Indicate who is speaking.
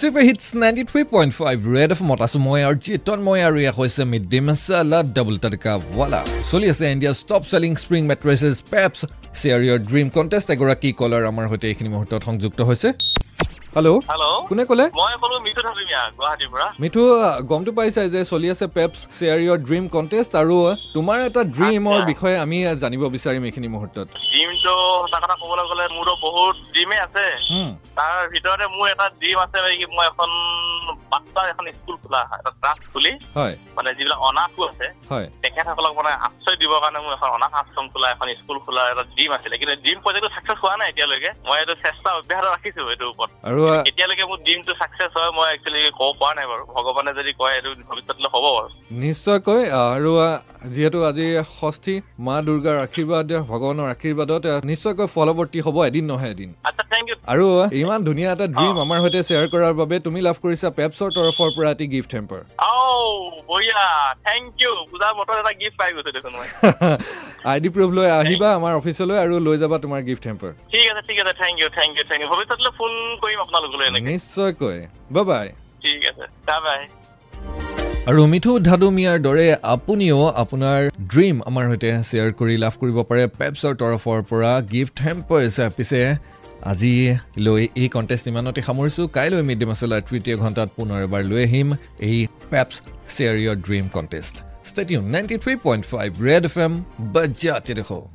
Speaker 1: Super hits ninety three point five red F মত আছোঁ মই আৰু জিতন মই আৰু এয়া হৈছে mid day masala double tadka ৱালা চলি আছে ইণ্ডিয়াৰ top selling spring mattresses Peps share your dream contest এগৰাকী কলাৰ আমাৰ সৈতে এইখিনি মুহূৰ্তত সংযুক্ত হৈছে হেল্ল'
Speaker 2: হেল্ল'
Speaker 1: কোনে ক'লে
Speaker 2: মই ক'লো মিঠু থাপিমিয়া গুৱাহাটীৰ পৰা
Speaker 1: মিঠু গমটো পাইছাই যে চলি আছে Peps share your dream contest আৰু তোমাৰ এটা ড্ৰিমৰ
Speaker 2: আচ্ছা।
Speaker 1: বিষয়ে আমি জানিব বিচাৰিম এইখিনি মুহূৰ্তত
Speaker 2: ডিমটো সঁচা কথা ক'বলৈ গ'লে মোৰতো বহুত ডিমেই আছে
Speaker 1: হুম,
Speaker 2: তাৰ ভিতৰতে মোৰ এটা ডিম আছে মানে কি মই এখন বাচ্ছাৰ এখন স্কুল খোলা এটা ট্ৰাষ্ট খুলি
Speaker 1: হয়
Speaker 2: মানে যিবিলাক অনাথো আছে
Speaker 1: হয়
Speaker 2: তেখেতসকলক মানে আশ্ৰয় দিবৰ কাৰণে মোৰ এখন অনাথ আশ্ৰম খোলা এখন স্কুল খোলা এটা ডিম আছিলে কিন্তু ডিম প্ৰজেক্টটো ছাকচেছ হোৱা নাই এতিয়ালৈকে মই এইটো চেষ্টা অব্যাহত ৰাখিছো এইটোৰ ওপৰত
Speaker 1: আৰু
Speaker 2: এতিয়ালৈকে মোৰ ডিমটো ছাকচেছ হয় মই একচুৱেলি ক'ব পৰা নাই বাৰু ভগৱানে যদি কয় এইটো ভৱিষ্যতলৈ হ'ব বাৰু
Speaker 1: নিশ্চয়কৈ আহ, আৰু আহ, যিহেতু আজি ষষ্ঠী মা দুৰ্গাৰ আশীৰ্বাদ ভগৱানৰ আশীৰ্বাদত আহ, নিশ্চয়কৈ ফলৱৰ্তী হ'ব এদিন নহয় এদিন
Speaker 2: আচ্ছা থেংক ইউ
Speaker 1: আৰু আহ, ইমান ধুনীয়া এটা ড্ৰিম আমাৰ সৈতে শ্বেয়াৰ কৰাৰ বাবে তুমি লাভ কৰিছা পেপছৰ তৰফৰ পৰা এটি গিফ্ট হেম্পাৰ
Speaker 2: আও বঢ়িয়া থেংক ইউ পূজাৰ বতৰত এটা গিফ্ট পাই গৈছো দেখোন মই
Speaker 1: আই ডি প্ৰুফ লৈ আহিবা আমাৰ অফিচলৈ আৰু লৈ যাবা তোমাৰ গিফ্ট হেম্পাৰ
Speaker 2: ঠিক আছে ঠিক আছে thank you thank you thank you ভৱিষ্যতলৈ ফোন কৰিম আপোনালোকলৈ এনেকে
Speaker 1: নিশ্চয়কৈ বা বাই
Speaker 2: ঠিক আছে বাই বাই
Speaker 1: আৰু মিঠু ধাদু মিয়াৰ দৰে আপুনিও আপোনাৰ ড্ৰিম আমাৰ সৈতে শ্বেয়াৰ কৰি লাভ কৰিব পাৰে পেপছৰ তৰফৰ পৰা গিফ্ট হেম্পাৰ্ছ পিছে আজিলৈ এই কণ্টেষ্ট ইমানতে সামৰিছোঁ কাইলৈ মিড ডে মছলাৰ তৃতীয় ঘণ্টাত পুনৰ এবাৰ লৈ আহিম এই Peps share your dream contest stadium ninety three point five red F M বাজ্যাতে দেখো